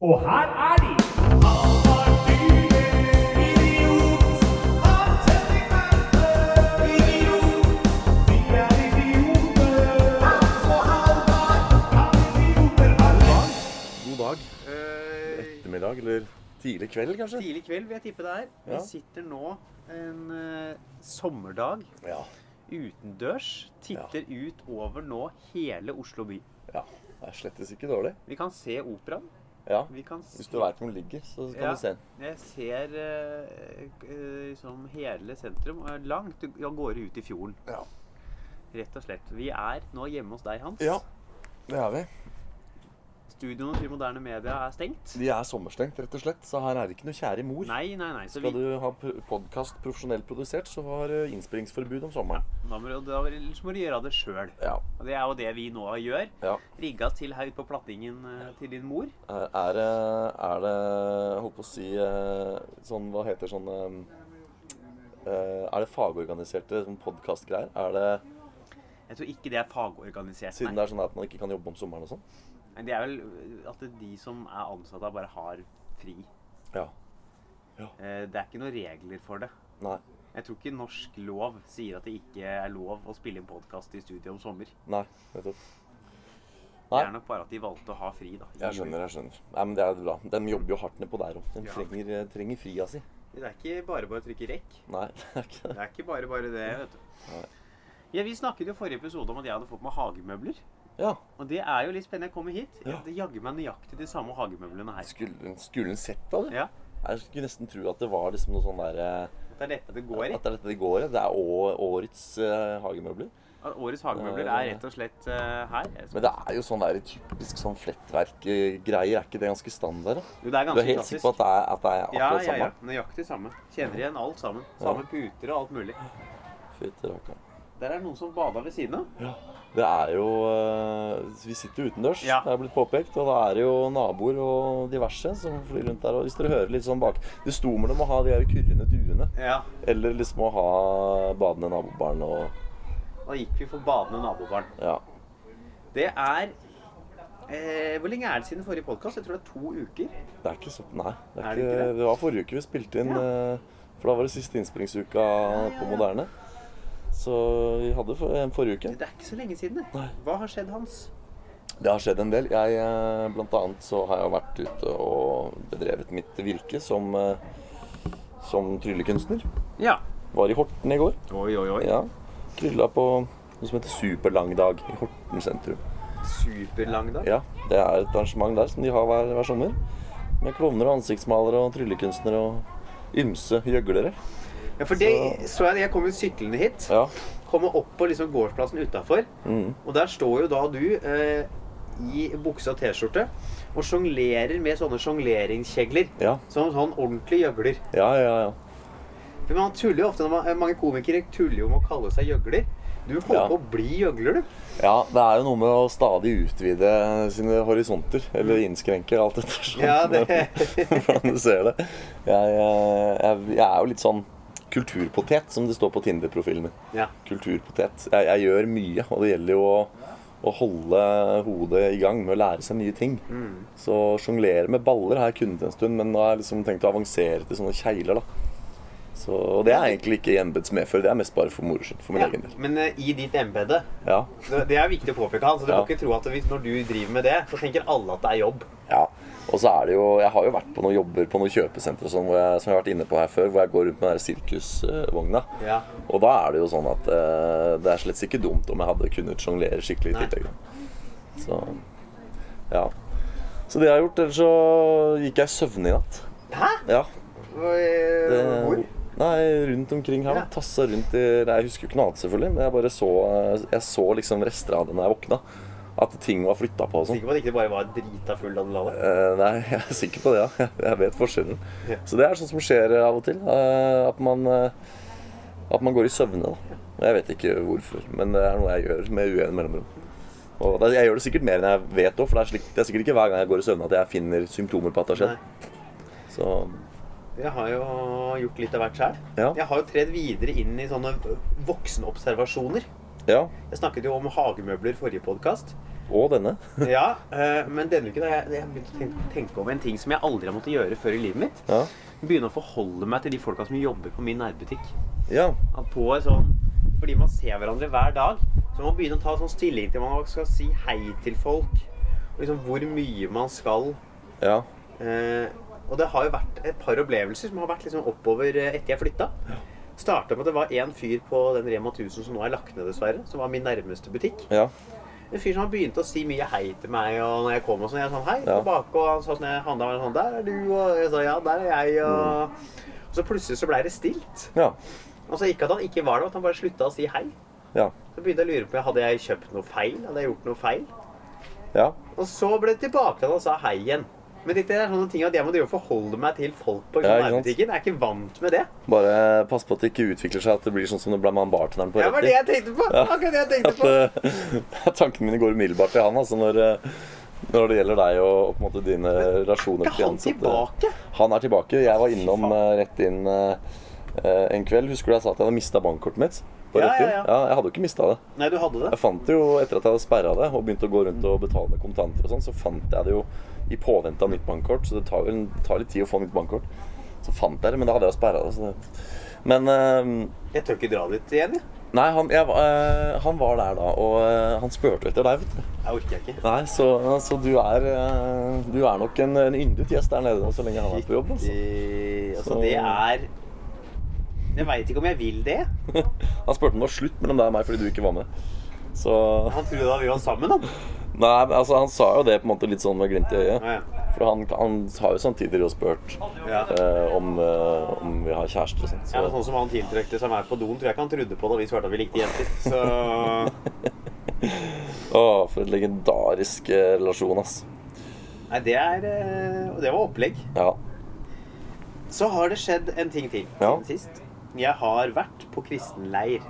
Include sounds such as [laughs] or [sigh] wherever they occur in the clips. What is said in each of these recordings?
Og her er de! Han var dyr, idiot. God dag. Ettermiddag eller tidlig kveld, kanskje? Tidlig kveld, vil jeg tippe det er. Vi Ja. sitter nå en eh, sommerdag Ja. utendørs. Titter ut over nå hele Oslo by. ja. Det er slettes ikke dårlig. Vi kan se operaen. Ja. Vi kan se, Hvis du veit hvor den ligger, så kan Ja. du se den. Jeg ser eh, k- eh, liksom hele sentrum. og er Langt du- av gårde ut i fjorden. Ja. Rett og slett. Vi er nå hjemme hos deg, Hans. det er vi. Studioene til Moderne Media er stengt. De er sommerstengt, rett og slett, så her er det ikke noe kjære mor. Nei, nei, nei. Så vi, Skal du ha podkast profesjonelt produsert, så har eh, innspillingsforbud om sommeren. da må, du- da, ellers må du gjøre det sjøl. Ja. Og det er jo det vi nå gjør. ja. Rigga til her ute på plattingen eh, til din mor. Er er det Er det Jeg holdt på å si eh, sånn Hva heter sånn eh, eh, Er det fagorganiserte sånn podkastgreier? Er det Jeg tror ikke det er fagorganisert. Siden nei. det er sånn at man ikke kan jobbe om sommeren og sånn? Men Det er vel øh, at de som er ansatte, bare har fri. Ja. Eh, Det er ikke noen regler for det. Nei. Jeg tror ikke norsk lov sier at det ikke er lov å spille inn podkast i studio om sommer. Nei, nettopp. Det Nei. er nok bare at de valgte å ha fri, da. i Jeg juli. skjønner, jeg skjønner. Nei, men det er bra. De jobber jo hardt nedpå der òg. De Ja. trenger, eh, trenger fria si. Det er ikke bare bare å trykke rekk. Nei, [laughs] det er ikke Det det. er ikke bare bare det, vet du. Nei. Ja, Vi snakket jo i forrige episode om at jeg hadde fått meg hagemøbler. Ja. Og det er jo litt spennende. Jeg kommer hit. Ja. Det jagger meg nøyaktig de samme hagemøblene her. Skulle skulle en sett da, du? Ja, Jeg skulle nesten tro at det var liksom noe sånn derre Det er dette det går i. At det er dette det går i. Det er å- årets eh, hagemøbler. At Årets hagemøbler er rett og slett eh, her. Men det er jo sånn der, typisk sånn flettverkgreier. Er ikke det ganske standard? Da? Jo, det er Du er ganske helt klassisk. sikker på at det er, at det er Ja, akkurat ja, ja. samme? Nøyaktig samme. Kjenner igjen alt sammen. Samme puter og alt mulig. Fytti rakkeren. Der er noen som bada ved siden av. Ja. Det er jo eh, Vi sitter jo utendørs, Ja. det er blitt påpekt. Og da er det jo naboer og diverse som flyr rundt der. Og hvis dere hører litt sånn bak Det sto mellom å ha de her kurrende duene. Ja. Eller liksom å ha badende nabobarn og Da gikk vi for badende nabobarn. Ja. Det er eh, Hvor lenge er det siden forrige podkast? Jeg tror det er to uker. Det er ikke så Nei. Det, er Er det ikke, ikke det? det? var forrige uke vi spilte inn, Ja. eh, for da var det siste innspillingsuka på Moderne. Så vi hadde for, en forrige uke. Det er ikke så lenge siden, det. Nei. Hva har skjedd, Hans? Det har skjedd en del. Jeg, eh, blant annet så har jeg vært ute og bedrevet mitt virke som, eh, som tryllekunstner. Ja. Var i Horten i går. Oi, oi, oi. Ja. Trylla på noe som heter Superlangdag i Horten sentrum. Superlang dag. Ja, Det er et arrangement der som de har hver, hver sommer. Med klovner og ansiktsmalere og tryllekunstnere og ymse gjøglere. Ja, for det så jeg Jeg kom jo syklende hit. Ja. Kommer opp på liksom gårdsplassen utafor. Mm. Og der står jo da du eh, i bukse og T-skjorte og sjonglerer med sånne sjongleringskjegler. Ja, Som sånn ordentlig gjøgler. ja, ja. ja. For man tuller jo ofte når man, eh, Mange komikere tuller jo med å kalle seg gjøgler. Du holder Ja. på å bli gjøgler, du. ja det er jo noe med å stadig utvide sine horisonter. Eller innskrenke, alt ettersom. Ja, det, [laughs] hvordan du ser det. Jeg, eh, jeg, jeg er jo litt sånn kulturpotet, som det står på Tinder-profilen min. [laughs] ja. Kulturpotet. Jeg, jeg gjør mye, og det gjelder jo å, å holde hodet i gang med å lære seg nye ting. Så sjonglere med baller har jeg kunnet en stund, men nå har jeg liksom tenkt å avansere til sånne kjegler, da. Så, og det er egentlig ikke i embets medfør, det er mest bare for moro skyld. For min ja. egen del. Men eh, i ditt embete Ja. Det det er viktig å påpeke, Hans. Du Ja. må ikke tro at hvis, når du driver med det, så tenker alle at det er jobb. Ja. Og så er det jo Jeg har jo vært på noen jobber på noen kjøpesentre og sånn, hvor jeg- som jeg har vært inne på her før, hvor jeg går rundt med den der sirkusvogna. Ja. Og da er det jo sånn at eh, det er slett ikke dumt om jeg hadde kunnet sjonglere skikkelig i Nei. tillegg. da. Så ja. Så det har jeg gjort. Ellers så gikk jeg søvnig i natt. Hæ? Ja. Hvor? eh, hvor? Nei, rundt omkring her. Ja. da. Tassa rundt i Nei, Jeg husker jo ikke noe annet, selvfølgelig, men jeg bare så Jeg så liksom rester av det når jeg våkna. At ting var flytta på og sånn. Sikker på at ikke det bare var drita full da du la deg? Eh, nei, [laughs] jeg er sikker på det, ja. [laughs] Jeg vet forskjellen. Ja. Så det er sånt som skjer eh, av og til. eh, At man, eh, at man går i søvne. da. Jeg vet ikke hvorfor, men det er noe jeg gjør med ujevne mellomrom. Og det- jeg gjør det sikkert mer enn jeg vet òg, for det er, slik, det er sikkert ikke hver gang jeg går i søvne at jeg finner symptomer på at det har skjedd. Nei. Så Jeg har jo gjort litt av hvert sjøl. Ja. Jeg har jo tredd videre inn i sånne voksenobservasjoner. ja. Jeg snakket jo om hagemøbler i forrige podkast. Og denne. [laughs] Ja, eh, men denne uken har jeg, jeg har begynt å tenke, tenke over en ting som jeg aldri har måttet gjøre før i livet mitt. Ja. Begynne å forholde meg til de folka som jobber på min nærbutikk. ja. At På en sånn, fordi man ser hverandre hver dag, så man må begynne å ta sånn stilling til man skal si hei til folk. Og liksom hvor mye man skal. Ja. Eh, og det har jo vært et par opplevelser som har vært liksom oppover eh, etter jeg flytta. Starta med at det var én fyr på den Rema 1000 som nå er lagt ned, dessverre. Som var min nærmeste butikk. Ja. En fyr som han begynte å si mye hei til meg og når jeg kom og sånn. Jeg sa hei Ja. tilbake, og han sa sånn Han der, han der er du, og jeg sa ja, der er jeg, Mm. og Og så plutselig så blei det stilt. Ja. Og så ikke at han ikke var det, men at han bare slutta å si hei. Ja. Så begynte jeg å lure på hadde jeg kjøpt noe feil, hadde jeg gjort noe feil. ja. Og så ble det tilbake til han og sa hei igjen. Men dette er sånne ting at jeg må drive og forholde meg til folk på Ja, ikke sant. nærbutikken. Jeg er ikke vant med det. Bare pass på at det ikke utvikler seg at det blir sånn som det ble med han bartenderen på Det var det Retti. jeg tenkte på! Ja. Akkurat det jeg tenkte At på. eh, tankene mine går umiddelbart til han altså når, eh, når det gjelder deg og, og på en måte dine relasjoner Skal han tilbake? Han er tilbake. Jeg var innom eh, rett inn eh, eh, en kveld. Husker du jeg sa at jeg hadde mista bankkortet mitt? På Ja, Rett Inn? ja, ja. Jeg hadde jo ikke mista det. Nei, du hadde det? Jeg fant det jo etter at jeg hadde sperra det og begynte å gå rundt og betale med kontanter og sånn, så fant jeg det jo i påvente av nytt bankkort. Så det tar, vel- det tar litt tid å få nytt bankkort. Så fant jeg det, men da hadde jeg sperra det. Så det. Men eh, Jeg tør ikke dra dit igjen, jeg. Nei, han, jeg, var- eh, han var der da, og eh, han spurte etter deg, vet du. Jeg orker jeg ikke. Nei, så, så du, er, eh, du er nok en, en yndet gjest der nede så lenge han er på jobb. Altså. Eh, altså, Så- det er Jeg veit ikke om jeg vil det. Han spurte om det var slutt mellom deg og meg fordi du ikke var med. Så Han trodde da vi var sammen, han. Nei, men altså, han sa jo det på en måte litt sånn med glimt i øyet. Ja, For han, han har jo samtidig jo spurt ja. eh, om, eh, om vi har kjærester og sånt. Ja, men Så. sånn som han tiltrekte seg meg på doen, tror jeg ikke han trodde på da vi svarte at vi likte jenter. Så Å, for en legendarisk eh, relasjon, ass. Nei, det er eh, Og det var opplegg. Ja. Så har det skjedd en ting til Ja. siden sist. Jeg har vært på kristenleir.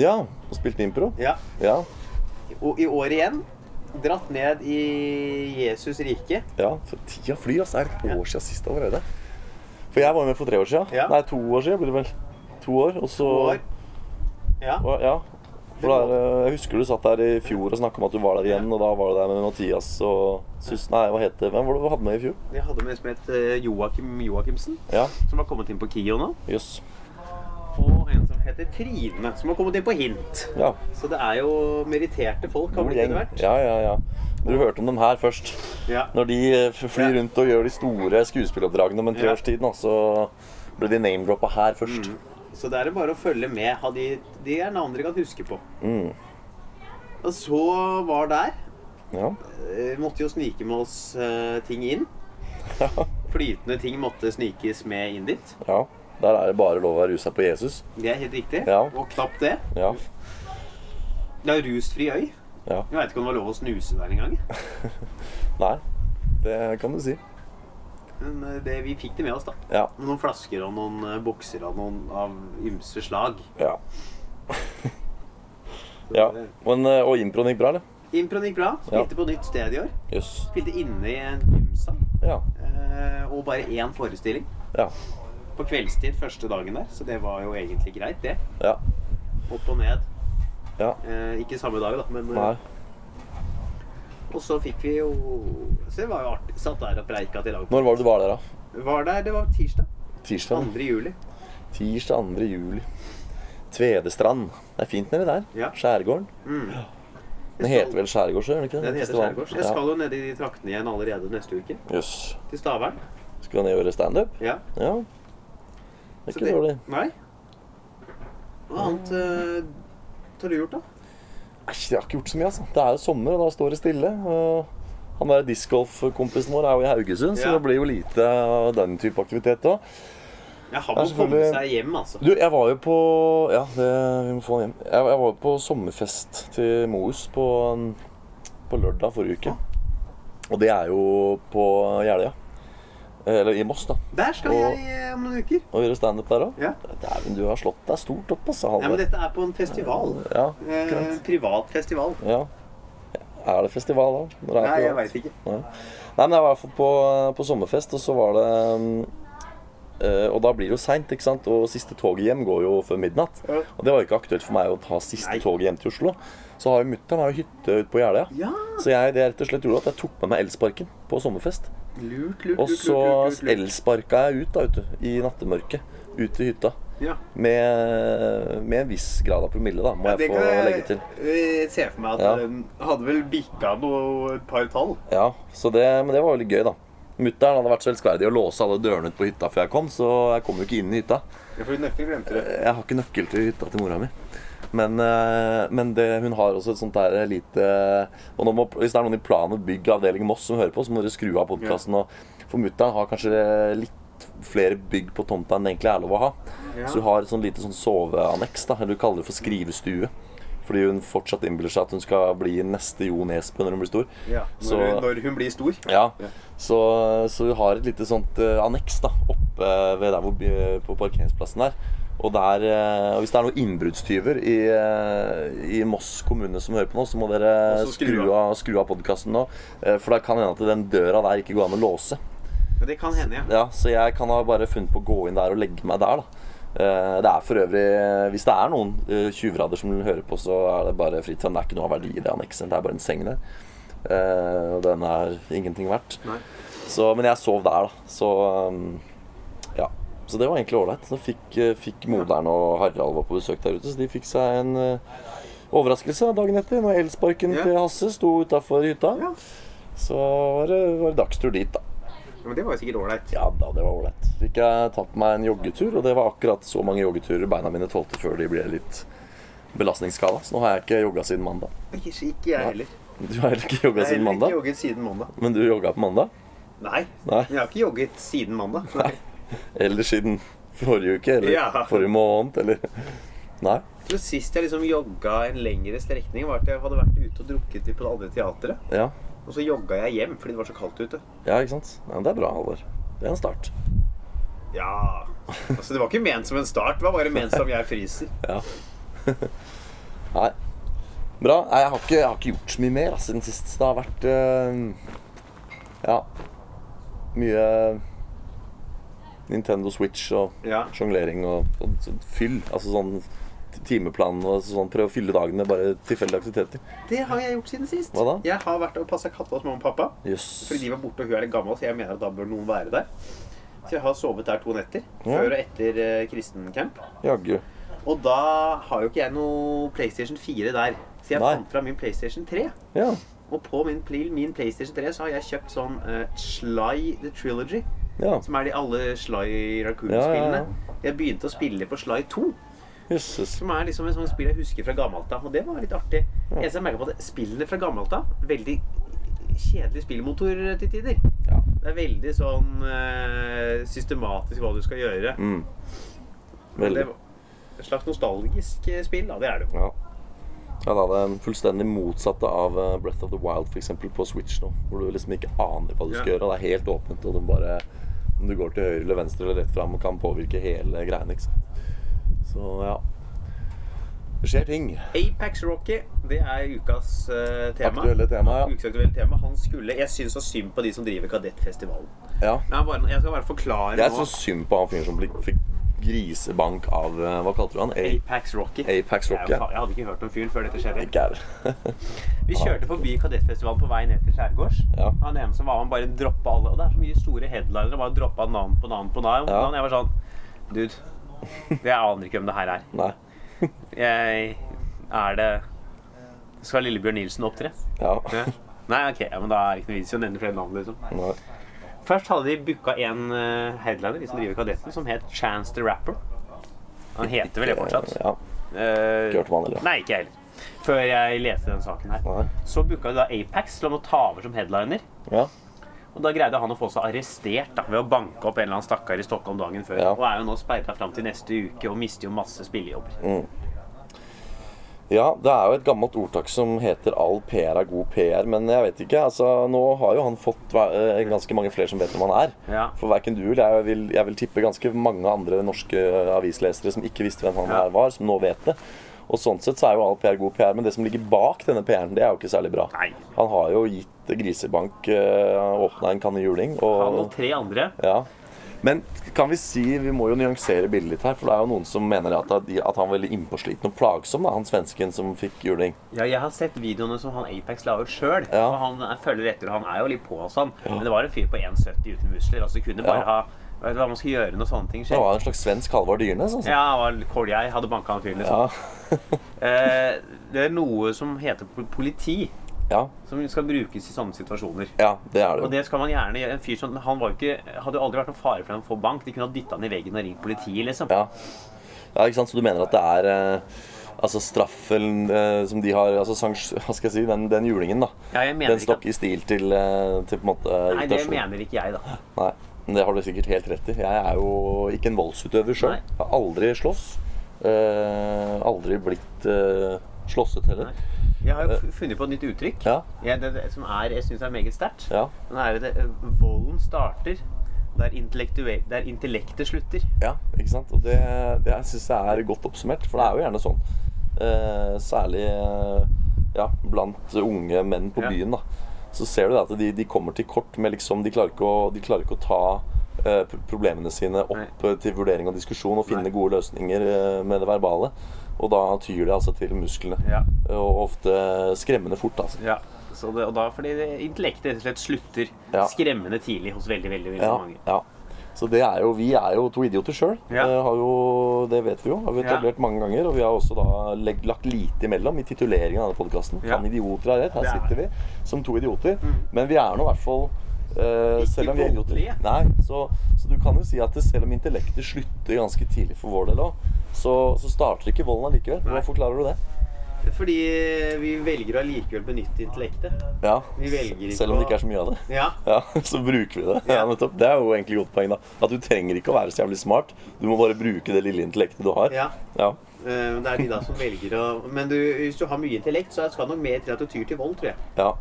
Ja, og spilt impro. Ja. Ja. Og i år igjen dratt ned i Jesus rike. Ja, for tida flyr, altså. Det er et år siden sist allerede. For jeg var med for tre år siden. Ja. Nei, to år siden blir det vel. To år, og så År. Ja. Og- Ja. For da er det- jeg husker du satt der i fjor og snakka om at du var der igjen, og da var du der med Mathias og Sus... Nei, hva het det? Hvem var det du hadde med i fjor? Jeg hadde med en som het eh, Joakim Joakimsen, Ja, som har kommet inn på KIO nå. jøss. Og en som heter Trine, som har kommet inn på Hint. Ja. Så det er jo meritterte folk har God blitt gjeng. etter hvert. Ja, ja, ja. Du hørte om dem her først. Ja. Når de eh, f- flyr Ja. rundt og gjør de store skuespilloppdragene om en Ja. Mm. treårstid, nå, så blir de name-droppa her først. Så det er det bare å følge med. Ha de, de er navn dere kan huske på. Og så var der. Ja. eh, Måtte jo snike med oss eh, ting inn. Flytende ting måtte snikes med inn dit. ja. Der er det bare lov å være rusa på Jesus. Det er helt riktig. Ja. Og knapt det. Ja. Det er rusfri øy. ja. Jeg veit ikke om det var lov å snuse der engang. Nei, det kan du si. Men eh, det, vi fikk det med oss, da. Ja. Med Noen flasker og noen eh, bokser av noen av ymse slag. Ja. [laughs] ja. Men, eh, og improen gikk bra, eller? Improen gikk bra. Ja. Spilte på nytt sted i år. Jøss. Spilte inne i en gymsal. Ja. Eh, og bare én forestilling. Ja. På kveldstid første dagen der, så det var jo egentlig greit, det. Ja. Opp og ned. ja. Eh, ikke samme dag, da, men eh, Nei. Og så fikk vi jo Så det var jo artig. Satt der og preika til dag. Når var det du var der, da? Var der, Det var tirsdag. Tirsdag? 2. juli. Tirsdag 2. juli. Tvedestrand. Det er fint nedi der. Ja. Skjærgården. Den heter vel Skjærgård, så gjør den ikke det? Den heter Festivalen. Skjærgårds. Jeg skal jo ned i de traktene igjen allerede neste uke. Ja. Jøss. Til Stavern. Skal du ned og gjøre standup? Ja. Ja. Det er Så ikke dårlig. Nei. Hva annet eh, har du gjort, da? Æsj, jeg har ikke gjort så mye, altså. Det er jo sommer, og da står det stille. Og han der discgolf-kompisen vår er jo i Haugesund, så Ja. det blir jo lite av den type aktivitet òg. Jeg har Det er må komme selvfølgelig- seg hjem, altså. Du, jeg var jo på Ja, det, vi må få den hjem. Jeg, jeg var jo på sommerfest til Moes på, um, på lørdag forrige uke. Og det er jo på Jeløya. Eller i Moss, da. Der skal Og- jeg eh, om noen uker. Og gjøre standup der òg. Ja. Dæven, du har slått deg stort opp, altså. Nei, men Halvor. dette er på en festival. Ja, Eh, akkurat. privat festival. Ja. Er det festival da? Når det er Nei, jeg privat? veit ikke. Nei. Nei, men jeg var i hvert fall på, på sommerfest, og så var det um, Eh, og da blir det jo seint, ikke sant. Og siste toget hjem går jo før midnatt. Ja. Og det var jo ikke aktuelt for meg å ta siste Nei. toget hjem til Oslo. Så har jo mutter'n har jo hytte ute på Jeløya. Ja. Så jeg, det rett og slett gjorde at jeg tok med meg elsparken på sommerfest. Lurt, lurt, lurt. Og så lurt, lurt, lurt. elsparka jeg ut da, vet du, i nattemørket. Ut til hytta. Ja. Med, med en viss grad av promille, da, må jeg Det få kan jeg legge til. eh, se for meg at Ja. den hadde vel bikka noe et par tall. Ja, så det, Men det var veldig gøy, da. Mutter'n hadde vært så elskverdig å låse alle dørene ut på hytta før jeg kom, så jeg kom jo ikke inn i hytta. Ja, for nøkkelen glemte du. Jeg har ikke nøkkel til hytta til mora mi. Men, eh, men det, hun har også et sånt der lite Og nå må, hvis det er noen i plan- og byggavdeling Moss som hører på, så må dere skru av podkasten. For mutter'n har kanskje litt flere bygg på tomta enn det egentlig er lov å ha. Ja. Så hun har et sånn lite sånn soveanneks. da, Eller hun kaller det for skrivestue. Fordi hun fortsatt innbiller seg at hun skal bli neste Jo Nesbø når hun blir stor. Ja, når, Så- hun- når hun blir stor. Ja, Ja. så, så vi har et lite sånt eh, anneks da, oppe ved der hvor, by- på parkeringsplassen der. Og der, eh, og hvis det er noen innbruddstyver i, eh, i Moss kommune som hører på nå, så må dere Også skru skru av, skru av podkasten nå. eh, For det kan hende at den døra der ikke går an å låse. Men det kan hende, ja. Ja, så jeg kan ha bare funnet på å gå inn der og legge meg der, da. Eh, Det er for øvrig Hvis det er noen eh, tjuvrader som hører på, så er det bare fritt fram. Det er ikke noe av verdi i det annekset. Det er bare en seng der. Eh, Og den er ingenting verdt. Nei. Så, men jeg sov der, da. Så um, ja. Så det var egentlig ålreit. Så fikk, eh, fikk moderen og Harald var på besøk der ute, så de fikk seg en eh, overraskelse dagen etter. Når elsparken Ja. til Hasse sto utafor hytta, Ja. så var det, var det dagstur dit, da. Ja, Men det var jo sikkert ålreit. Ja da, det var ålreit. Fikk jeg tatt meg en joggetur, og det var akkurat så mange joggeturer beina mine tålte før de ble litt belastningsskada. Så nå har jeg ikke jogga siden mandag. Ikke, ikke jeg heller. Du har heller ikke jogga Jeg har siden heller ikke mandag, jogget siden mandag. men du jogga på mandag? Nei. Nei. Jeg har ikke jogget siden mandag. Nei. Eller siden forrige uke, eller Ja. forrige måned, eller Nei. Jeg tror sist jeg liksom jogga en lengre strekning, var at jeg hadde vært ute og drukket litt på det andre teatret. Ja, Og så jogga jeg hjem fordi det var så kaldt ute. ja ikke sant? Ja, det er bra, Halvor. Det er en start. Ja Altså, det var ikke ment som en start. Det var bare ment som jeg fryser. Ja. [laughs] Nei. Bra. Nei, jeg har ikke, jeg har ikke gjort så mye mer da, siden sist. Det har vært eh, Ja. Mye eh, Nintendo Switch og Ja. sjonglering og, og så- fyll. Altså sånn timeplan og sånn. Prøve å fylle dagen med bare tilfeldige aktiviteter. Det har jeg gjort siden sist. Hva da? Jeg har vært og passa katta hos mamma og pappa. Jøss. Fordi de var borte, og hun er litt gammel, så jeg mener at da bør noen være der. Så jeg har sovet der to netter. Ja. Før og etter eh, kristencamp. Jaggu. Og da har jo ikke jeg noe PlayStation 4 der. Så jeg Nei. fant fra min PlayStation 3. Ja. Og på min, pl- min PlayStation 3 så har jeg kjøpt sånn eh, Sly The Trilogy. Ja. Som er de alle Sly Ja, Raccoon-spillene. ja, Jeg begynte å spille på Sly 2. Jøsses. Som er liksom et sånt spill jeg husker fra gammelt av. Og det var litt artig. Eneste jeg merket på at spillene fra gammelt av Veldig kjedelig spillmotor til tider. Ja. Det er veldig sånn eh, systematisk hva du skal gjøre. Mm. Men Det Veldig. var et slags nostalgisk eh, spill, da. Det er det jo. Ja. Ja, da, det er fullstendig motsatte av eh, Breath of the Wild for eksempel, på Switch nå. Hvor du liksom ikke aner hva du skal Ja. gjøre. og Det er helt åpent, og du bare Om du går til høyre eller venstre eller rett fram, kan påvirke hele greiene. ikke sant? Så ja. Det skjer ting. Apax Rocky, det er ukas eh, tema. Aktuelle tema, ja. Ukesaktuelle tema. Han skulle Jeg syns så synd på de som driver Kadettfestivalen. ja. Men jeg, bare, jeg skal bare forklare Jeg nå. syns synd på han fyren som ble- fikk grisebank av eh, Hva kalte du han? A Apax Rocky. Apax Jeg, Rock, ja. jeg hadde ikke hørt om fyren før dette skjedde. Ikke er Vi kjørte forbi Kadettfestivalen på vei ned til Skjærgårds. Ja. Han ene som var med, bare droppa alle. Og det er så mye store headlinere. Bare droppa navn på navn på navn. Ja. Jeg var sånn Dude, jeg aner ikke hvem det her er. [laughs] Nei. Jeg Er det Skal Lillebjørn Nilsen opptre? Ja. Ja. Nei, ok, ja, men da er det ikke noe vits i å nevne flere navn, liksom. Nei. Først hadde de booka en eh, headliner, de som driver Kadetten, som het Chance the Rapper. Han heter vel det fortsatt? Ja. Eh, Ikke hørt om han heller. Nei, ikke jeg heller. Før jeg leste den saken her. Nei. Så booka de da Apax til å ta over som headliner. Ja. Og da greide han å få seg arrestert da, ved å banke opp en eller annen stakkar i Stockholm dagen før. Ja. Og er jo nå sperra fram til neste uke og mister jo masse spillejobber. Mm. Ja, det er jo et gammelt ordtak som heter 'all PR er god PR', men jeg vet ikke. altså, Nå har jo han fått hver- eh, ganske mange flere som vet hvem han er. Ja. For verken du eller jeg vil, jeg vil tippe ganske mange andre norske eh, avislesere som ikke visste hvem han Ja. her var, som nå vet det. Og sånn sett så er jo all PR god PR, men det som ligger bak denne PR-en, det er jo ikke særlig bra. Nei. Han har eh, jo gitt grisebank, åpna en kanne juling og Han og tre andre ja. Men kan vi si Vi må jo nyansere bildet litt her, for det er jo noen som mener at, at han var veldig innpåsliten og plagsom, da, han svensken som fikk juling. Ja, jeg har sett videoene som han Apex la ut sjøl. Ja. Og han er- følger etter, og han er jo litt på oss, han. Men det var en fyr på 1,70 uten muskler. Altså, du kunne bare Ja. ha Vet du hva man skal gjøre når sånne ting Det skjer? var en slags svensk Halvard Dyrnes. Altså. Ja, det var Kåljei hadde banka han fyren, liksom. Ja. [laughs] Eh, det er noe som heter pol- politi, ja. som skal brukes i sånne situasjoner. Ja, det er det Og jo. det skal man gjerne gjøre. En fyr som, han var jo ikke, hadde jo aldri vært noen fare for å få bank. De kunne ha dytta han i veggen og ringt politiet, liksom. Ja. ja, ikke sant? Så du mener at det er eh, altså straffen eh, som de har altså, sanks, [laughs] Hva skal jeg si? Den, den julingen, da. Ja, jeg mener Den ikke stakk i stil til, eh, til på en måte eh, Nei, det irritasjon. mener ikke jeg, da. Nei, men det har du sikkert helt rett i. Jeg er jo ikke en voldsutøver sjøl. Nei. Har aldri slåss. Eh, aldri blitt eh, slåsset heller. Nei. Jeg har jo f- funnet på et nytt uttrykk Eh. Ja, jeg, det, det, som er, jeg syns er meget sterkt. ja, Den er det eh, volden starter der, intellektuel- der intellektet slutter. ja, ikke sant. Og det, det jeg syns jeg er godt oppsummert, for det er jo gjerne sånn. Eh, særlig eh, ja, blant unge menn på Ja. byen, da. Så ser du det at de, de kommer til kort med liksom De klarer ikke å, de klarer ikke å ta eh, pro- problemene sine opp eh, til vurdering og diskusjon og finne Nei. gode løsninger eh, med det verbale. Og da tyr de altså til musklene. Ja. Og ofte skremmende fort, altså. ja. Så det, og da fordi det, intellektet rett og slett slutter Ja. skremmende tidlig hos veldig, veldig, veldig Ja, mange. ja. Så det er jo, vi er jo to idioter sjøl. Ja. Det vet vi jo. Har vi Ja. etablert mange ganger. Og vi har også da legg- lagt lite imellom i tituleringen av denne podkasten. Ja. Kan idioter ha rett? Her Det er sitter vi som to idioter. Men vi er nå i hvert fall eh, Ikke selv om vi er voldelige. idioter. Nei, så, så du kan jo si at det, selv om intellektet slutter ganske tidlig for vår del òg, så, så starter ikke volden allikevel. Nei. Hvorfor klarer du det? Fordi eh, vi velger å allikevel benytte intellektet. Ja. Vi velger ikke selv om det ikke å- er så mye av det. Ja. Ja, [laughs] så bruker vi det. Ja. Ja, nettopp. Det er jo egentlig godt poeng, da. At du trenger ikke å være så jævlig smart. Du må bare bruke det lille intellektet du har. ja. Ja. Eh, Det er de da som velger å Men du, hvis du har mye intellekt, så skal det nok mer til at du tyr til vold, tror jeg. ja.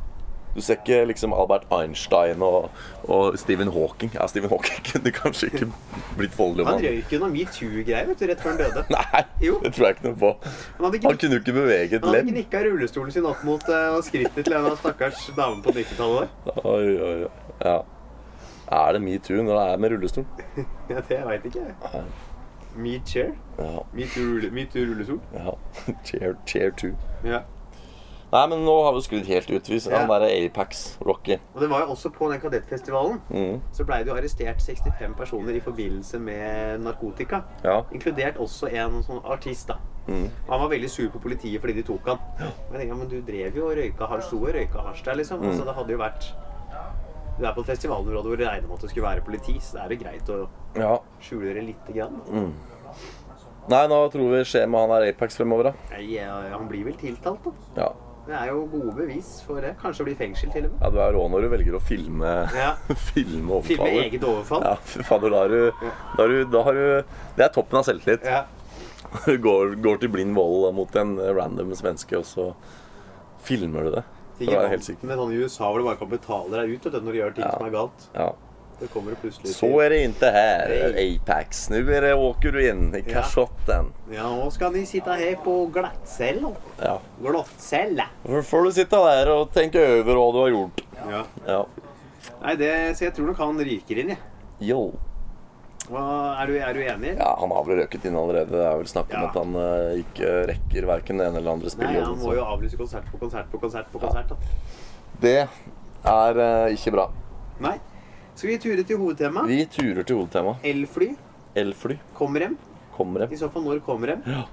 Du ser ikke liksom Albert Einstein og, og Stephen Hawking. Ja, Stephen Hawking [laughs] kunne kanskje ikke blitt voldelig om Han han røyk jo noe metoo-greier vet du, rett før han døde. Nei, Jo. det tror jeg ikke noe på. Han hadde Han gnikt- kunne jo ikke bevege et han hadde lem. gnikka rullestolen sin opp mot eh, skrittet til en av stakkars dame på 90-tallet. der. Oi, oi, oi. Ja. Er det metoo når det er med rullestol? Ja, det veit ikke jeg. Me chair? Ja. Me too rulle- me too rullestol? ja. [laughs] Chair, chair two. Ja. Nei, men nå har vi skrudd helt ut. Vi Ja. Han derre Apax, Rocky. Og det var jo også på den kadettfestivalen. Mm. Så blei det jo arrestert 65 personer i forbindelse med narkotika. Ja. Inkludert også en sånn artist, da. Mm. Og han var veldig sur på politiet fordi de tok han. Men, jeg tenker, men du drev jo og røyka hasj, sto og røyka hasj der, Mm. liksom. Altså, det hadde jo vært Du er på et festivalområde hvor du regner med at det skulle være politi, så da er det greit å ja. skjule det lite grann. Mm. Nei, nå tror vi skjer med han her Apax fremover, da. Nei, eh, han blir vel tiltalt, da. Ja. Det er jo gode bevis for det. Kanskje bli fengsel, til og med. ja, du er rå når du velger å filme Ja. [laughs] Filme overfallet. Filme eget overfall. Ja, fy fader, da, er du, da, er du, da har du Det er toppen av selvtillit. Ja. [laughs] Du går, går til blind vold mot en random svenske, og så filmer du det. For å Sikkert være helt vant sikker. med sånn i USA hvor du bare kan betale deg ut vet du, når du gjør ting Ja. som er galt. Ja. Det kommer det plutselig Så er det ikke her, Hei. Apax. Nå er det, åker du inn i Ja. kasjotten. Ja, nå skal ni sitte her på glattcella. Ja. Glattcella. Så får du sitte der og tenke over hva du har gjort. Ja. Ja. Nei, det, så jeg tror nok han ryker inn, jeg. Jo. Hva- Er, du- er du enig? Ja, han har vel røket inn allerede. Det er vel snakk om Ja. at han eh, ikke rekker verken det ene eller andre Nei, spillet. han må jo avlyse konsert på konsert på konsert på konsert, da. Det er eh, ikke bra. Nei. Skal vi ture til hovedtemaet? Vi turer til hovedtema. Elfly. Elfly Kommer dem? kommer I hjem så fall, når kommer dem?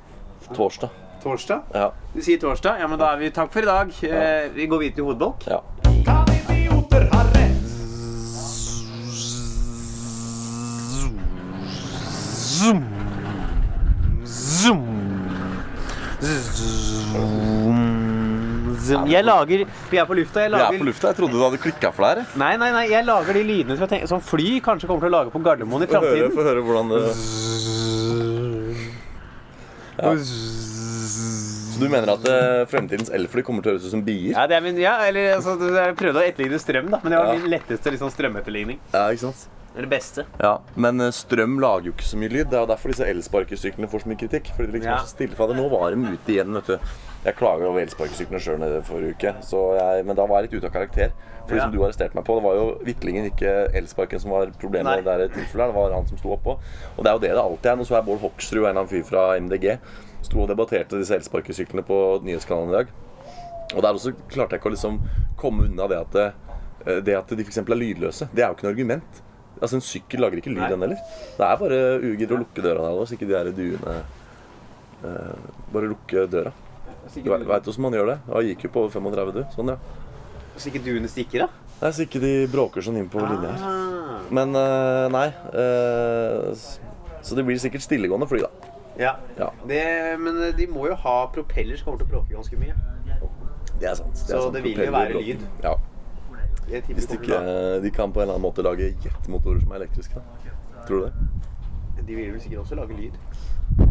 torsdag. Torsdag? Ja, Du sier torsdag? Ja, men da er vi Takk for i dag. Eh, Vi går videre til hovedbolk. ja. Kan idioter ha rett? Jeg lager Vi er på lufta. Jeg Vi er lager på lufta. Jeg trodde du hadde klikka for det her. Nei, nei, nei, jeg lager de lydene som, jeg tenker, som fly kanskje kommer til å lage på Gardermoen i Få høre, framtiden. få høre hvordan det ja. Så du mener at eh, fremtidens elfly kommer til å høres ut som bier? Ja, det er min, ja, eller altså, jeg prøvde å etterligne strøm, da, men det var Ja. min letteste liksom, strømmetterligning. Ja, ikke sant? Det er det beste. Ja, Men eh, strøm lager jo ikke så mye lyd. Det er jo derfor disse elsparkesyklene får så mye kritikk. Fordi de liksom Ja. er så stille Fader, Nå var de ute igjen, vet du. Jeg klager over elsparkesyklene sjøl forrige uke, så jeg, men da var jeg litt ute av karakter. For det Ja. som du arresterte meg på, det var jo viklingen, ikke elsparken, som var problemet i det Nei. der tilfellet. her. Det var han som sto oppå. Og det er jo det det alltid er. Nå så jeg Bård Hoksrud, en eller annen fyr fra MDG, sto og debatterte disse elsparkesyklene på nyhetskanalen i dag. Og der også klarte jeg ikke å liksom komme unna det at, eh, det- det at de f.eks. er lydløse. Det er jo ikke noe argument. Altså En sykkel lager ikke lyd, Nei. den heller. Det er bare ugidder å lukke døra der også, så ikke de der duene eh, Bare lukke døra. Du Hvis veit åssen man gjør det. Ja, gikk jo på over 35, du. Sånn, ja. ikke duene stikker, da? Nei, Så ikke de bråker sånn inn på linja her. Ah. Men eh, nei. eh, s- så det blir sikkert stillegående fly, da. Ja. Ja. Det, men eh, de må jo ha propeller som kommer til å bråke ganske mye. Det er sant. er Så sant. det vil jo Propeller være bråker. lyd. Ja. Jeg tipper Hvis det de kommer ikke eh, til å- de kan på en eller annen måte lage jetmotorer som er elektriske. da. Tror du det? De vil vel sikkert også lage lyd.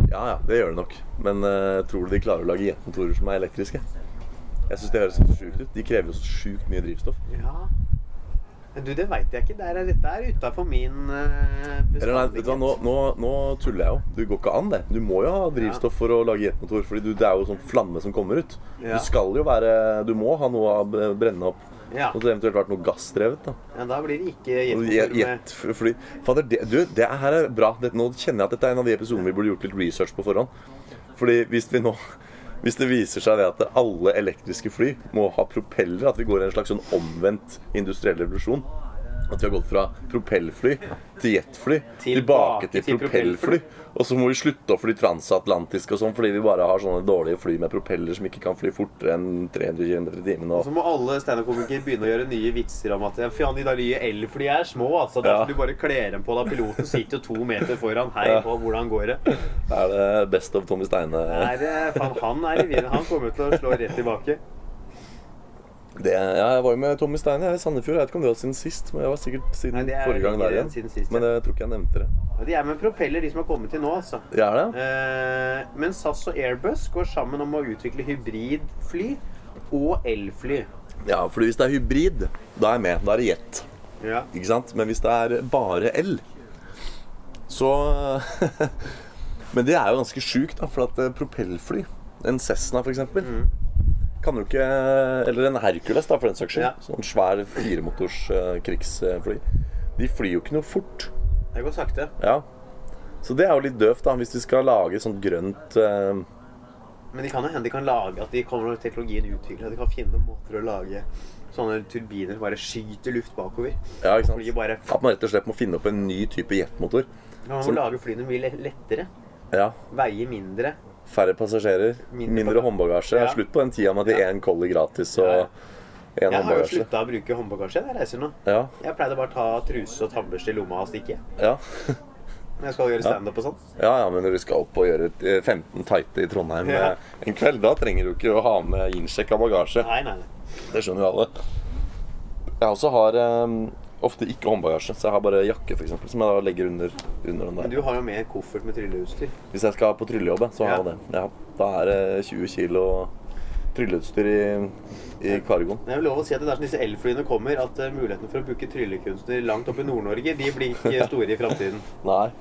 Ja, ja, det gjør det nok. Men eh, tror du de klarer å lage jetmotorer som er elektriske? Jeg syns det høres så sjukt ut. De krever jo så sjukt mye drivstoff. Ja. Men du, det veit jeg ikke. Der er, dette er utafor min uh, Eller nei, vet du hva, nå, nå, nå tuller jeg jo. Det går ikke an, det. Du må jo ha drivstoff for å lage jetmotor. Fordi du, det er jo sånn flamme som kommer ut. Ja. Du skal jo være Du må ha noe å b- brenne opp. Ja. Måtte eventuelt vært noe gassdrevet, da. ja, da blir det ikke Og jetmotor jet- med- Jetfly Fader, det, du, det her er bra. Det, nå kjenner jeg at dette er en av de episodene vi burde gjort litt research på forhånd. Fordi hvis vi nå Hvis det viser seg det at alle elektriske fly må ha propeller, at vi går i en slags sånn omvendt industriell revolusjon at vi har gått fra propellfly til jetfly tilbake til, propellfly. Og så må vi slutte å fly transatlantisk og sånn fordi vi bare har sånne dårlige fly med propeller som ikke kan fly fortere enn 300 km i timen. Og Og så må alle standup-komikere begynne å gjøre nye vitser om at ja, faen, de der nye elfly er små. altså. Da Ja. skal du bare kle dem på da piloten sitter jo to meter foran. Hei, Ja. på, hvordan går det? er det best of Tommy Steine? Nei, det, faen, han er i vinden. Han kommer til å slå rett tilbake. Det, ja, jeg var jo med Tommy Steine jeg, i Sandefjord. Jeg vet ikke om det var siden sist. Men jeg var sikkert siden Nei, det er forrige gang ikke der igjen. siden sist, ja. men jeg tror ikke jeg nevnte det. Ja, De er med propeller, de som har kommet til nå, altså. Jeg er det? Eh, men SAS og Airbus går sammen om å utvikle hybridfly og elfly. Ja, for hvis det er hybrid, da er jeg med. Da er det jet. Ja. Ikke sant? Men hvis det er bare el, så [laughs] Men det er jo ganske sjukt, da, for at eh, propellfly, en Cessna f.eks., Mm. eksempel kan jo ikke Eller en Hercules, da, for den saks skyld. Ja. Sånn svær firemotors eh, krigsfly. De flyr jo ikke noe fort. Det går sakte. Ja. Så det er jo litt døvt, da, hvis de skal lage sånt grønt eh, Men de kan jo hende de kan lage at de kommer når teknologien utvikler at de kan finne måter å lage sånne turbiner som bare skyter luft bakover. Ja, ikke Flyet sant? bare At man rett og slett må finne opp en ny type jetmotor. Ja, Man må Som- lage flyene mye le- lettere, Ja. veie mindre. Færre passasjerer, Mindre mindre, bagga- håndbagasje. Ja. Slutt på den tida med at det er én kolli gratis og Ja, én Jeg har jo håndbagasje. slutta å bruke håndbagasje når jeg reiser nå. Ja. Jeg pleide bare å ta truse og tannbørste i lomma og stikke. Ja. Når jeg skal gjøre standup og sånn. ja, ja, men når du skal opp og gjøre et, eh, 15 tighte i Trondheim Ja. eh, en kveld, da trenger du ikke å ha med innsjekka bagasje. Nei, nei, nei. Det skjønner jo alle. Jeg også har eh, ofte ikke håndbagasje, så jeg har bare jakke, f.eks., som jeg da legger under, under den der. Men du har jo med en koffert med trylleutstyr. Hvis jeg skal på tryllejobb, så har Ja. jeg det. Ja, da er det 20 kilo trylleutstyr i, i cargoen. Men jeg vil lov å si at dersom disse elflyene kommer, at eh, muligheten for å booke tryllekunstner langt opp i Nord-Norge, de blir [laughs] ikke store i framtiden. Nei.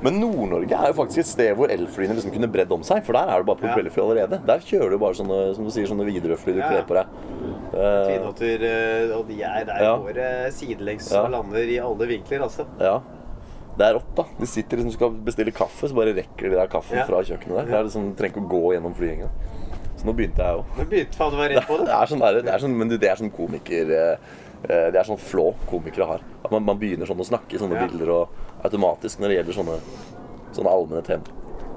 Men Nord-Norge er jo faktisk et sted hvor elflyene liksom kunne bredd om seg. For der er det bare Ja. propellerfly allerede. Der kjører du bare sånne som du sier, sånne Widerøe-fly du Ja, ja. kler på deg. Eh, Tvinåter, eh, og de er der Ja. går eh, sidelengs Ja. og lander i alle vinkler, altså. Eh, ja. Det er rått, da. De sitter liksom skal bestille kaffe, så bare rekker de der kaffen Ja. fra kjøkkenet der. Det er liksom, trenger ikke å gå gjennom flyet engang. Så nå begynte jeg òg. Nå begynte faen å være redd på Det det. er sånn, der, det er sånn, men du, det er sånn komiker eh, eh, Det er sånn flå komikere har. At man, man begynner sånn å snakke i sånne Ja. bilder og automatisk når det gjelder sånne, sånne allmenne temaer.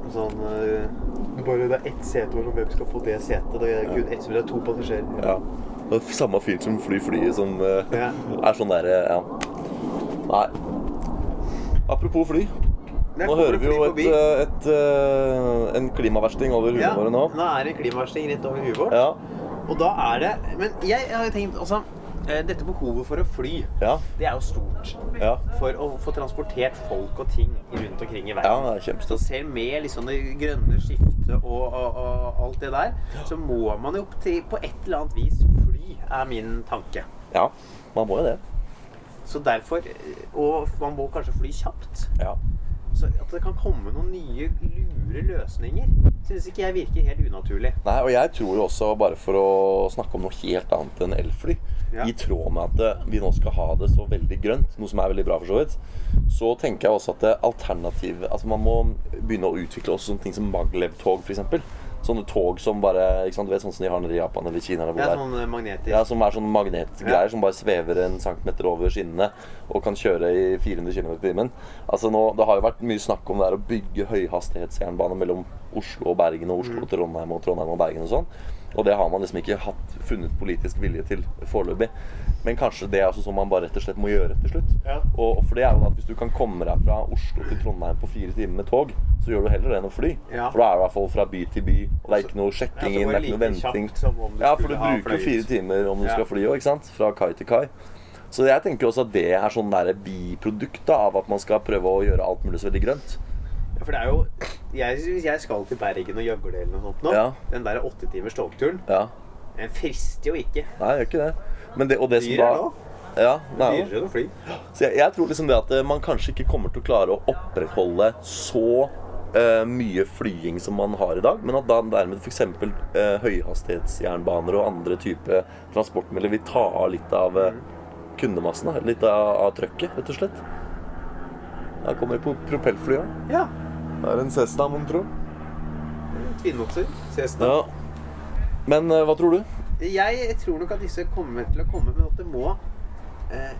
Sånn, eh, bare det er ett sete hvor hvem skal få det setet? Det er kun ett som vil ha to passasjerer. Ja. Det er samme fyr som flyr flyet, som eh, Ja. er sånn derre Ja. Nei. Apropos fly. Nå Der kommer hører det vi fly jo et, forbi. eh, et, eh, en klimaversting over hundene Ja, våre nå nå. er det en klimaversting rett over huet vårt. Ja. Og da er det Men jeg har jo tenkt altså eh, Dette behovet for å fly, Ja. det er jo stort. Ja. For å få transportert folk og ting rundt omkring i ja verden. det er Så kjempestort. selv med liksom det grønne skiftet og, og, og alt det der, så må man jo til, på et eller annet vis fly, er min tanke. Ja. Man må jo det. Så derfor eh, Og man må kanskje fly kjapt. Ja. Så at det kan komme noen nye lure løsninger, syns ikke jeg virker helt unaturlig. Nei, og jeg tror jo også, bare for å snakke om noe helt annet enn elfly Ja. I tråd med at eh, vi nå skal ha det så veldig grønt, noe som er veldig bra for så vidt, så tenker jeg også at det alternativ Altså man må begynne å utvikle også sånne ting som maglev-tog, f.eks. Sånne tog som bare ikke sant, du vet, Sånn som de har nede i Japan eller Kina eller hvor Det det er. er sånn magnetisk. Ja, som er sånne magnetgreier som bare svever en centimeter over skinnene og kan kjøre i 400 km i timen. Altså nå, Det har jo vært mye snakk om det her å bygge høyhastighetsjernbane mellom Oslo og Bergen og Mm. Oslo og Trondheim og Trondheim og Bergen og sånn. Og det har man liksom ikke hatt, funnet politisk vilje til foreløpig. Men kanskje det er også sånn man bare rett og slett må gjøre til slutt. Ja. Og, og for det er jo at hvis du kan komme deg fra Oslo til Trondheim på fire timer med tog, så gjør du heller det enn å fly. Ja. For da er du i hvert fall fra by til by, og det er ikke noe Ja, så sjekking går inn, det er det ikke noe like kjapt venting. som om du Ja, for skulle du ha bruker jo fløyet. fire timer om du Ja. skal fly òg, ikke sant? Fra kai til kai. Så jeg tenker også at det er sånn der biprodukt da, av at man skal prøve å gjøre alt mulig så veldig grønt. Ja, For det er jo jeg, Hvis jeg skal til Bergen og gjøgle eller noe sånt nå, Ja. den der åtte timers togturen, Ja. den frister jo ikke. Nei, jeg gjør ikke det. Men det, og det som Dyr er da det ja, nei, Dyrere enn å fly. Så jeg, jeg tror liksom det at eh, man kanskje ikke kommer til å klare å opprettholde så eh, mye flying som man har i dag, men at da dermed f.eks. Uh, høyhastighetsjernbaner og andre typer transportmidler vil ta av litt av eh, kundemassen, da, litt av, av trøkket, rett og slett. Her kommer pro- propellflyet. Ja. Det er en Cessna, mon tro. Tvinnotser. Cessna. Ja. Men eh, hva tror du? Jeg tror nok at disse kommer til å komme, men at det må eh,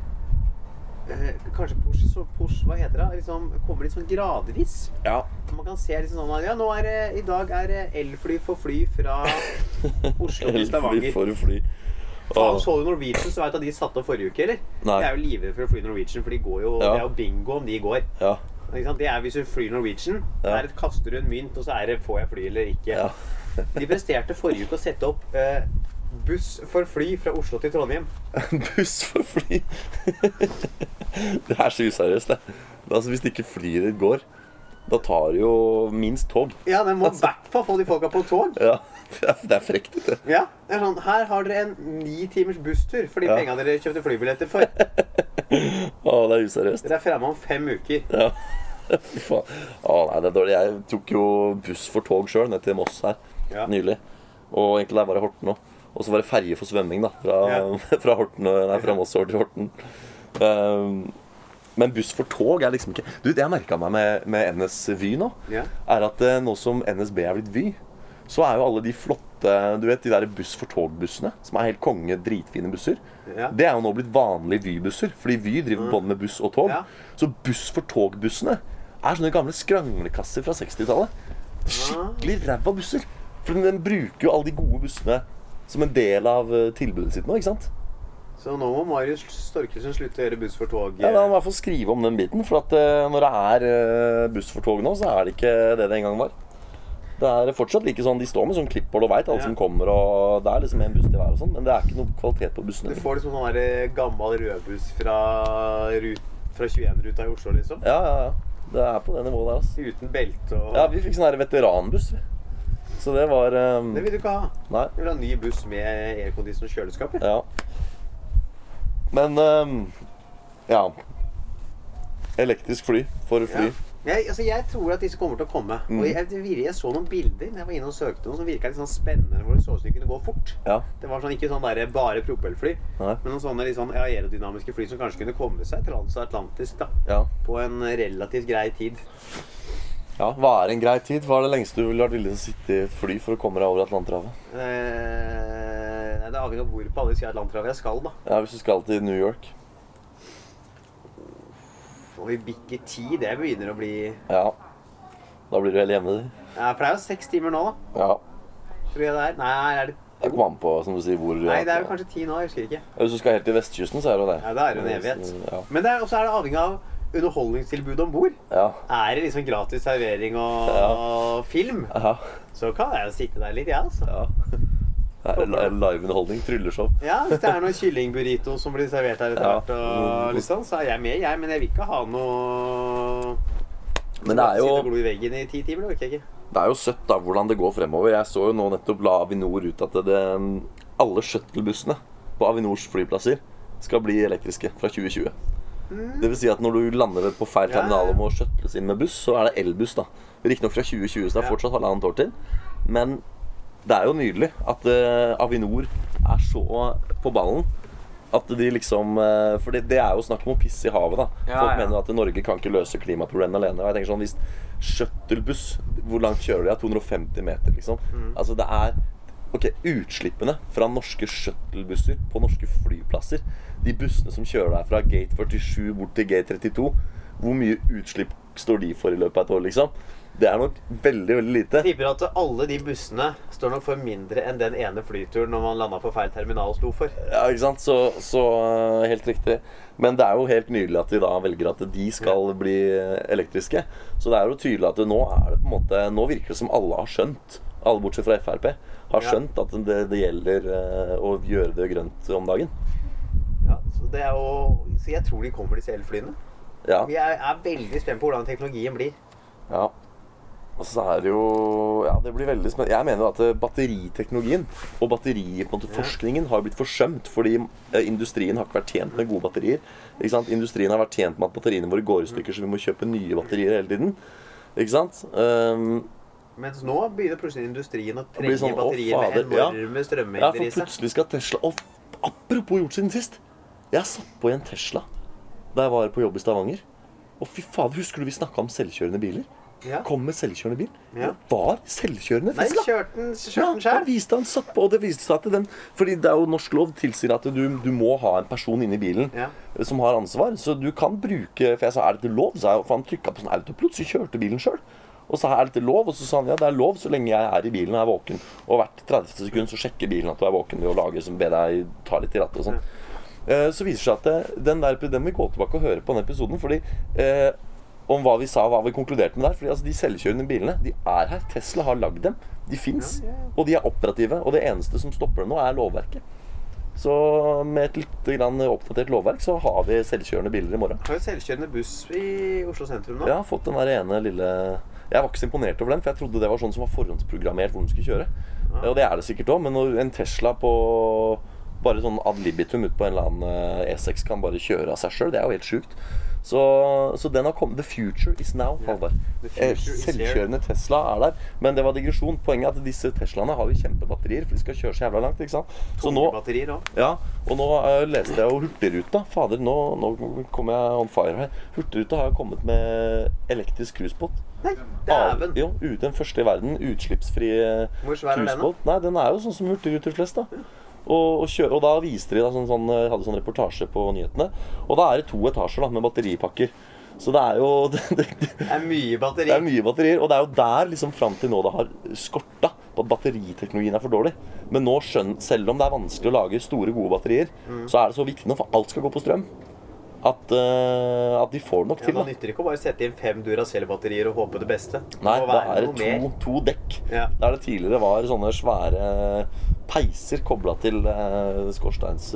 eh, Kanskje push, så push Hva heter det? Liksom, kommer litt sånn gradvis. Ja. Så Man kan se liksom sånn at ja, nå er det, i dag er det elfly for fly [laughs] fra Oslo til Elfly Stavanger. for fly. Faen, Åh. så du Norwegian så ut av de satt opp forrige uke, eller? Nei. Jeg er jo livredd for å fly Norwegian, for de går jo, Ja. det er jo bingo om de går. Ja. Ikke sant? Det er hvis du flyr Norwegian, Ja. der kaster du en mynt, og så er det får jeg fly eller ikke. ja. De presterte forrige uke å sette opp eh, buss for fly fra Oslo til Trondheim. [laughs] Buss for fly. [laughs] det er så useriøst, det. Altså, hvis ikke flyet ditt går, da tar det jo minst tog. Ja, den må i hvert fall få de folka på tog. Altså- Ja, [laughs] Det er, det er frekt, vet du. Ja, det er sånn, Her har dere en ni timers busstur for de Ja. penga dere kjøpte flybilletter [laughs] for. Å, det er useriøst. Dere er fremme om fem uker. Ja. Fy faen. Å, nei, det er dårlig. Jeg tok jo buss for tog sjøl ned til Moss her Ja. nylig. Og egentlig der var det Horten òg. Og så var det ferje for svømming, da. Fra, Ja. [laughs] fra, Horten, og- nei, fra Moss over til Horten. Ehm, men buss for tog er liksom ikke Du, det jeg merka meg med, med NS Vy nå, Ja. er at eh, nå som NSB er blitt Vy, så er jo alle de flotte Du vet de der buss for tog-bussene, som er helt konge, dritfine busser. Ja. Det er jo nå blitt vanlige Vy-busser, fordi Vy driver bånd med buss og tog. Mm. Ja. Så buss for tog-bussene er sånne gamle skranglekasser fra 60-tallet. Skikkelig Ah. ræva busser. For den- den bruker jo alle de gode bussene som en del av eh, tilbudet sitt nå, ikke sant? Så nå må Marius Storkelsen slutte å gjøre buss for tog. Ja, da må jeg i hvert fall skrive om den biten, for at eh, når det er eh, buss for tog nå, så er det ikke det det en gang var. Det er fortsatt like sånn, De står med sånn klippbord og veit alle Ja. som kommer, og det er liksom en buss til hver og sånn, men det er ikke noe kvalitet på bussene. Du får liksom sånn der gammel rødbuss fra, rut- fra 21-ruta i Oslo, liksom. Ja, ja, ja. Det er på det nivået der, altså. Uten belte og Ja, vi fikk sånn her veteranbuss, vi. Så det var eh, Det vil du ikke ha. Nei. Du vil ha en ny buss med aircondition og kjøleskap. Ja. Ja. Men eh, Ja. Elektrisk fly for fly. Ja. Jeg, altså, jeg tror at disse kommer til å komme. Og Mm. jeg, det vir- jeg så noen bilder når jeg var inne og søkte noe som virka litt sånn spennende, hvor det så ut som de kunne gå fort. Ja. Det var sånn, ikke sånn der, bare propellfly, Nei. men noen sånne litt sånn aerodynamiske fly som kanskje kunne komme seg transatlantisk da, ja. på en relativt grei tid. Ja, Hva er en grei tid? Hva er det lengste du ville vært villig til å sitte i et fly for å komme deg over Atlanterhavet? Eh, nei, det avhenger av hvor på alle sider av Atlanterhavet jeg skal. da. Ja, Hvis du skal til New York. Og vi bikker ti, det begynner å bli Ja. Da blir du helt hjemme, du. Ja, For det er jo seks timer nå, da. Ja. Tror jeg det er. Nei, er det Det kommer an på som du sier, hvor du Nei, det er jo kanskje ti nå. Jeg husker ikke. Ja, Hvis du skal helt til vestkysten, så er det jo det. Ja, det er jo en evighet. Ja. Men det er- også er det avhengig av underholdningstilbudet om bord. Ja. Er det liksom gratis servering og, og film, ja. så kan jeg jo sitte der litt, jeg, ja, altså. ja. [laughs] Det er li- Liveunderholdning. Trylleshow. Ja, hvis det er noen kyllingburrito som blir servert her etter Ja. hvert, og litt sånn, så er jeg med, jeg. Men jeg vil ikke ha noe Men det er Sitte og jo, glo i veggen i ti timer, det orker jeg ikke. det er jo søtt da, hvordan det går fremover. Jeg så jo nå nettopp la Avinor ut at det, mm, det, alle shuttlebussene på Avinors flyplasser skal bli elektriske fra 2020. Mm. Det vil si at når du lander på feil terminal og må shuttles inn med buss, så er det elbuss, da. Riktignok fra 2020, så det er Ja. fortsatt halvannet år til. Men det er jo nydelig at eh, Avinor er så på ballen at de liksom eh, For det, det er jo snakk om å pisse i havet, da. Ja, Folk ja. mener at Norge kan ikke løse klimaproblemene alene. Og jeg tenker sånn, hvis shuttlebuss Hvor langt kjører de? Ja, 250 meter, liksom. Mm. Altså, det er Ok, utslippene fra norske shuttlebusser på norske flyplasser De bussene som kjører deg fra gate 47 bort til gate 32 Hvor mye utslipp står de for i løpet av et år, liksom? Det er nok veldig, veldig lite. Jeg tipper at alle de bussene står nok for mindre enn den ene flyturen når man landa på feil terminal og sto for. Ja, ikke sant? Så, så eh, helt riktig. Men det er jo helt nydelig at de da velger at de skal bli eh, elektriske. Så det er jo tydelig at det, nå er det på en måte Nå virker det som alle har skjønt, alle bortsett fra Frp, har Ja. skjønt at det, det gjelder eh, å gjøre det grønt om dagen. Ja, så, det er jo, så jeg tror de kommer, disse elflyene. Ja. Vi er, er veldig spent på hvordan teknologien blir. ja. Og så er det jo Ja, det blir veldig spennende. Jeg mener jo at eh, batteriteknologien og batteriforskningen har jo blitt forsømt fordi eh, industrien har ikke vært tjent med gode batterier. Ikke sant? Industrien har vært tjent med at batteriene våre går i stykker, så vi må kjøpe nye batterier hele tiden. Ikke sant? Ehm, Mens nå begynner plutselig industrien å blir trenge sånn, å, batterier med fader, ja. enorme ja, strømmengder for i seg. plutselig skal Tesla Og apropos gjort siden sist. Jeg satt på i en Tesla da jeg var på jobb i Stavanger. Og fy fader, husker du vi snakka om selvkjørende biler? Ja. Kom med selvkjørende bil. Ja. Det var selvkjørende Nei, Tesla. kjørte den Ja, da sjøl? viste han satt på, og det viste seg at den Fordi det er jo norsk lov tilsier at du, du må ha en person inni bilen Ja. som har ansvar. Så du kan bruke For jeg sa er dette lov? Så jeg, for han trykka på sånn autopilot, så kjørte bilen sjøl. Og så er dette lov, og så sa han ja, det er lov så lenge jeg er i bilen og er våken. Og hvert 30 sekund så sjekker bilen at du er våken ved å lage som ber deg ta litt i rattet og sånn. Eh, Så viser det seg at det- den der den vil gå tilbake og høre på den episoden. Fordi eh, Om hva vi sa, hva vi konkluderte med der. Fordi altså, De selvkjørende bilene de er her. Tesla har lagd dem. De fins. Ja, ja, ja. Og de er operative. Og det eneste som stopper dem nå, er lovverket. Så med et litt grann oppdatert lovverk så har vi selvkjørende biler i morgen. Har jo selvkjørende buss i Oslo sentrum nå. Jeg har fått den der ene lille Jeg var ikke så imponert over den, for jeg trodde det var sånn som var forhåndsprogrammert hvor den skulle kjøre. Ja. Og det er det sikkert òg, men når en Tesla på bare sånn ad libitum ut på en eller annen eh, E6 kan bare kjøre av seg sjøl, det er jo helt sjukt. Så, så den har kommet The future is now, Halvard. The future Eh, is here. Selvkjørende Tesla er der. Men det var digresjon. Poenget er at disse Teslaene har jo kjempebatterier, for de skal kjøre så jævla langt. ikke sant? Så nå, Batterier òg. ja, og nå eh, leste jeg jo Hurtigruta. Fader, nå, nå kommer jeg on fire her. Hurtigruta har jo kommet med elektrisk cruisebåt. Nei, Av- dæven! Jo, u- den første i verden utslippsfri eh, Hvor svær er den, da? cruisebåt. Nei, den er jo sånn som hurtigruter flest, da. Og, og, kjø og da viste de da sånn, sånn, eh, hadde sånn reportasje på nyhetene. Og da er det to etasjer da, med batteripakker. Så det er jo [laughs] det, det, Det er mye det er batteri. mye batterier, og det er jo der liksom fram til nå det har skorta på at batteriteknologien er for dårlig. Men nå skjønner, selv om det er vanskelig å lage store, gode batterier, Mm. så er det så viktig nå, for alt skal gå på strøm, at, eh, at de får det nok Ja, til. da Da. nytter det ikke å bare sette inn fem Duracell-batterier og håpe det beste. Det Nei, må da være er noe det to, mer. to dekk. Ja. Der det tidligere var sånne svære eh, peiser kobla til eh,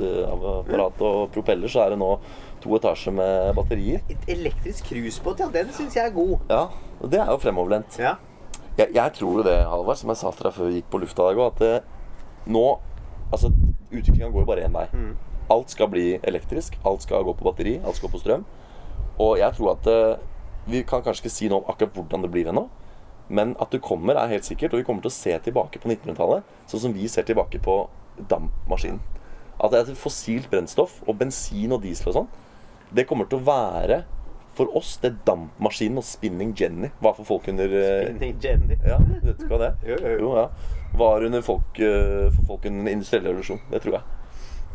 skorsteinsapparat og propeller, så er det nå to etasjer med batterier. Et elektrisk cruisebåt, ja, den syns jeg er god. Ja, og det er jo fremoverlent. Ja. Jeg, jeg tror jo det, Halvard, som jeg sa til deg før vi gikk på lufta i dag òg, at eh, nå Altså, utviklinga går jo bare én vei. Alt skal bli elektrisk. Alt skal gå på batteri. Alt skal gå på strøm. Og jeg tror at eh, Vi kan kanskje ikke si noe om akkurat hvordan det blir ennå. Men at det kommer, er helt sikkert. Og vi kommer til å se tilbake på 1900-tallet sånn som vi ser tilbake på dampmaskinen. At det er et fossilt brennstoff og bensin og diesel og sånn, det kommer til å være for oss det dampmaskinen og Spinning Jenny var for folk under eh, Jenny. ja, vet du hva det er? Jo, jo, jo. ja. Var under folk, eh, for folk under den industrielle revolusjon. Det tror jeg.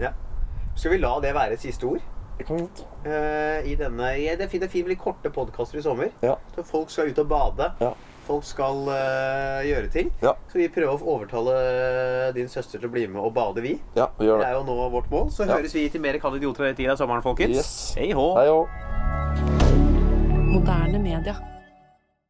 Ja. Skal vi la det være siste ord? Det kan vi godt. eh, i denne, ja, det er fint det er fint med litt korte podkaster i sommer. Ja. Så folk skal ut og bade. Ja. Folk skal eh, gjøre ting. Ja. Så vi prøver å overtale din søster til å bli med og bade, vi. ja, vi gjør Det er det. jo nå vårt mål. Så Ja. høres vi til mer kalde idioter i tida sommeren, folkens. Yes. Hei hå. Hei, og. Moderne media.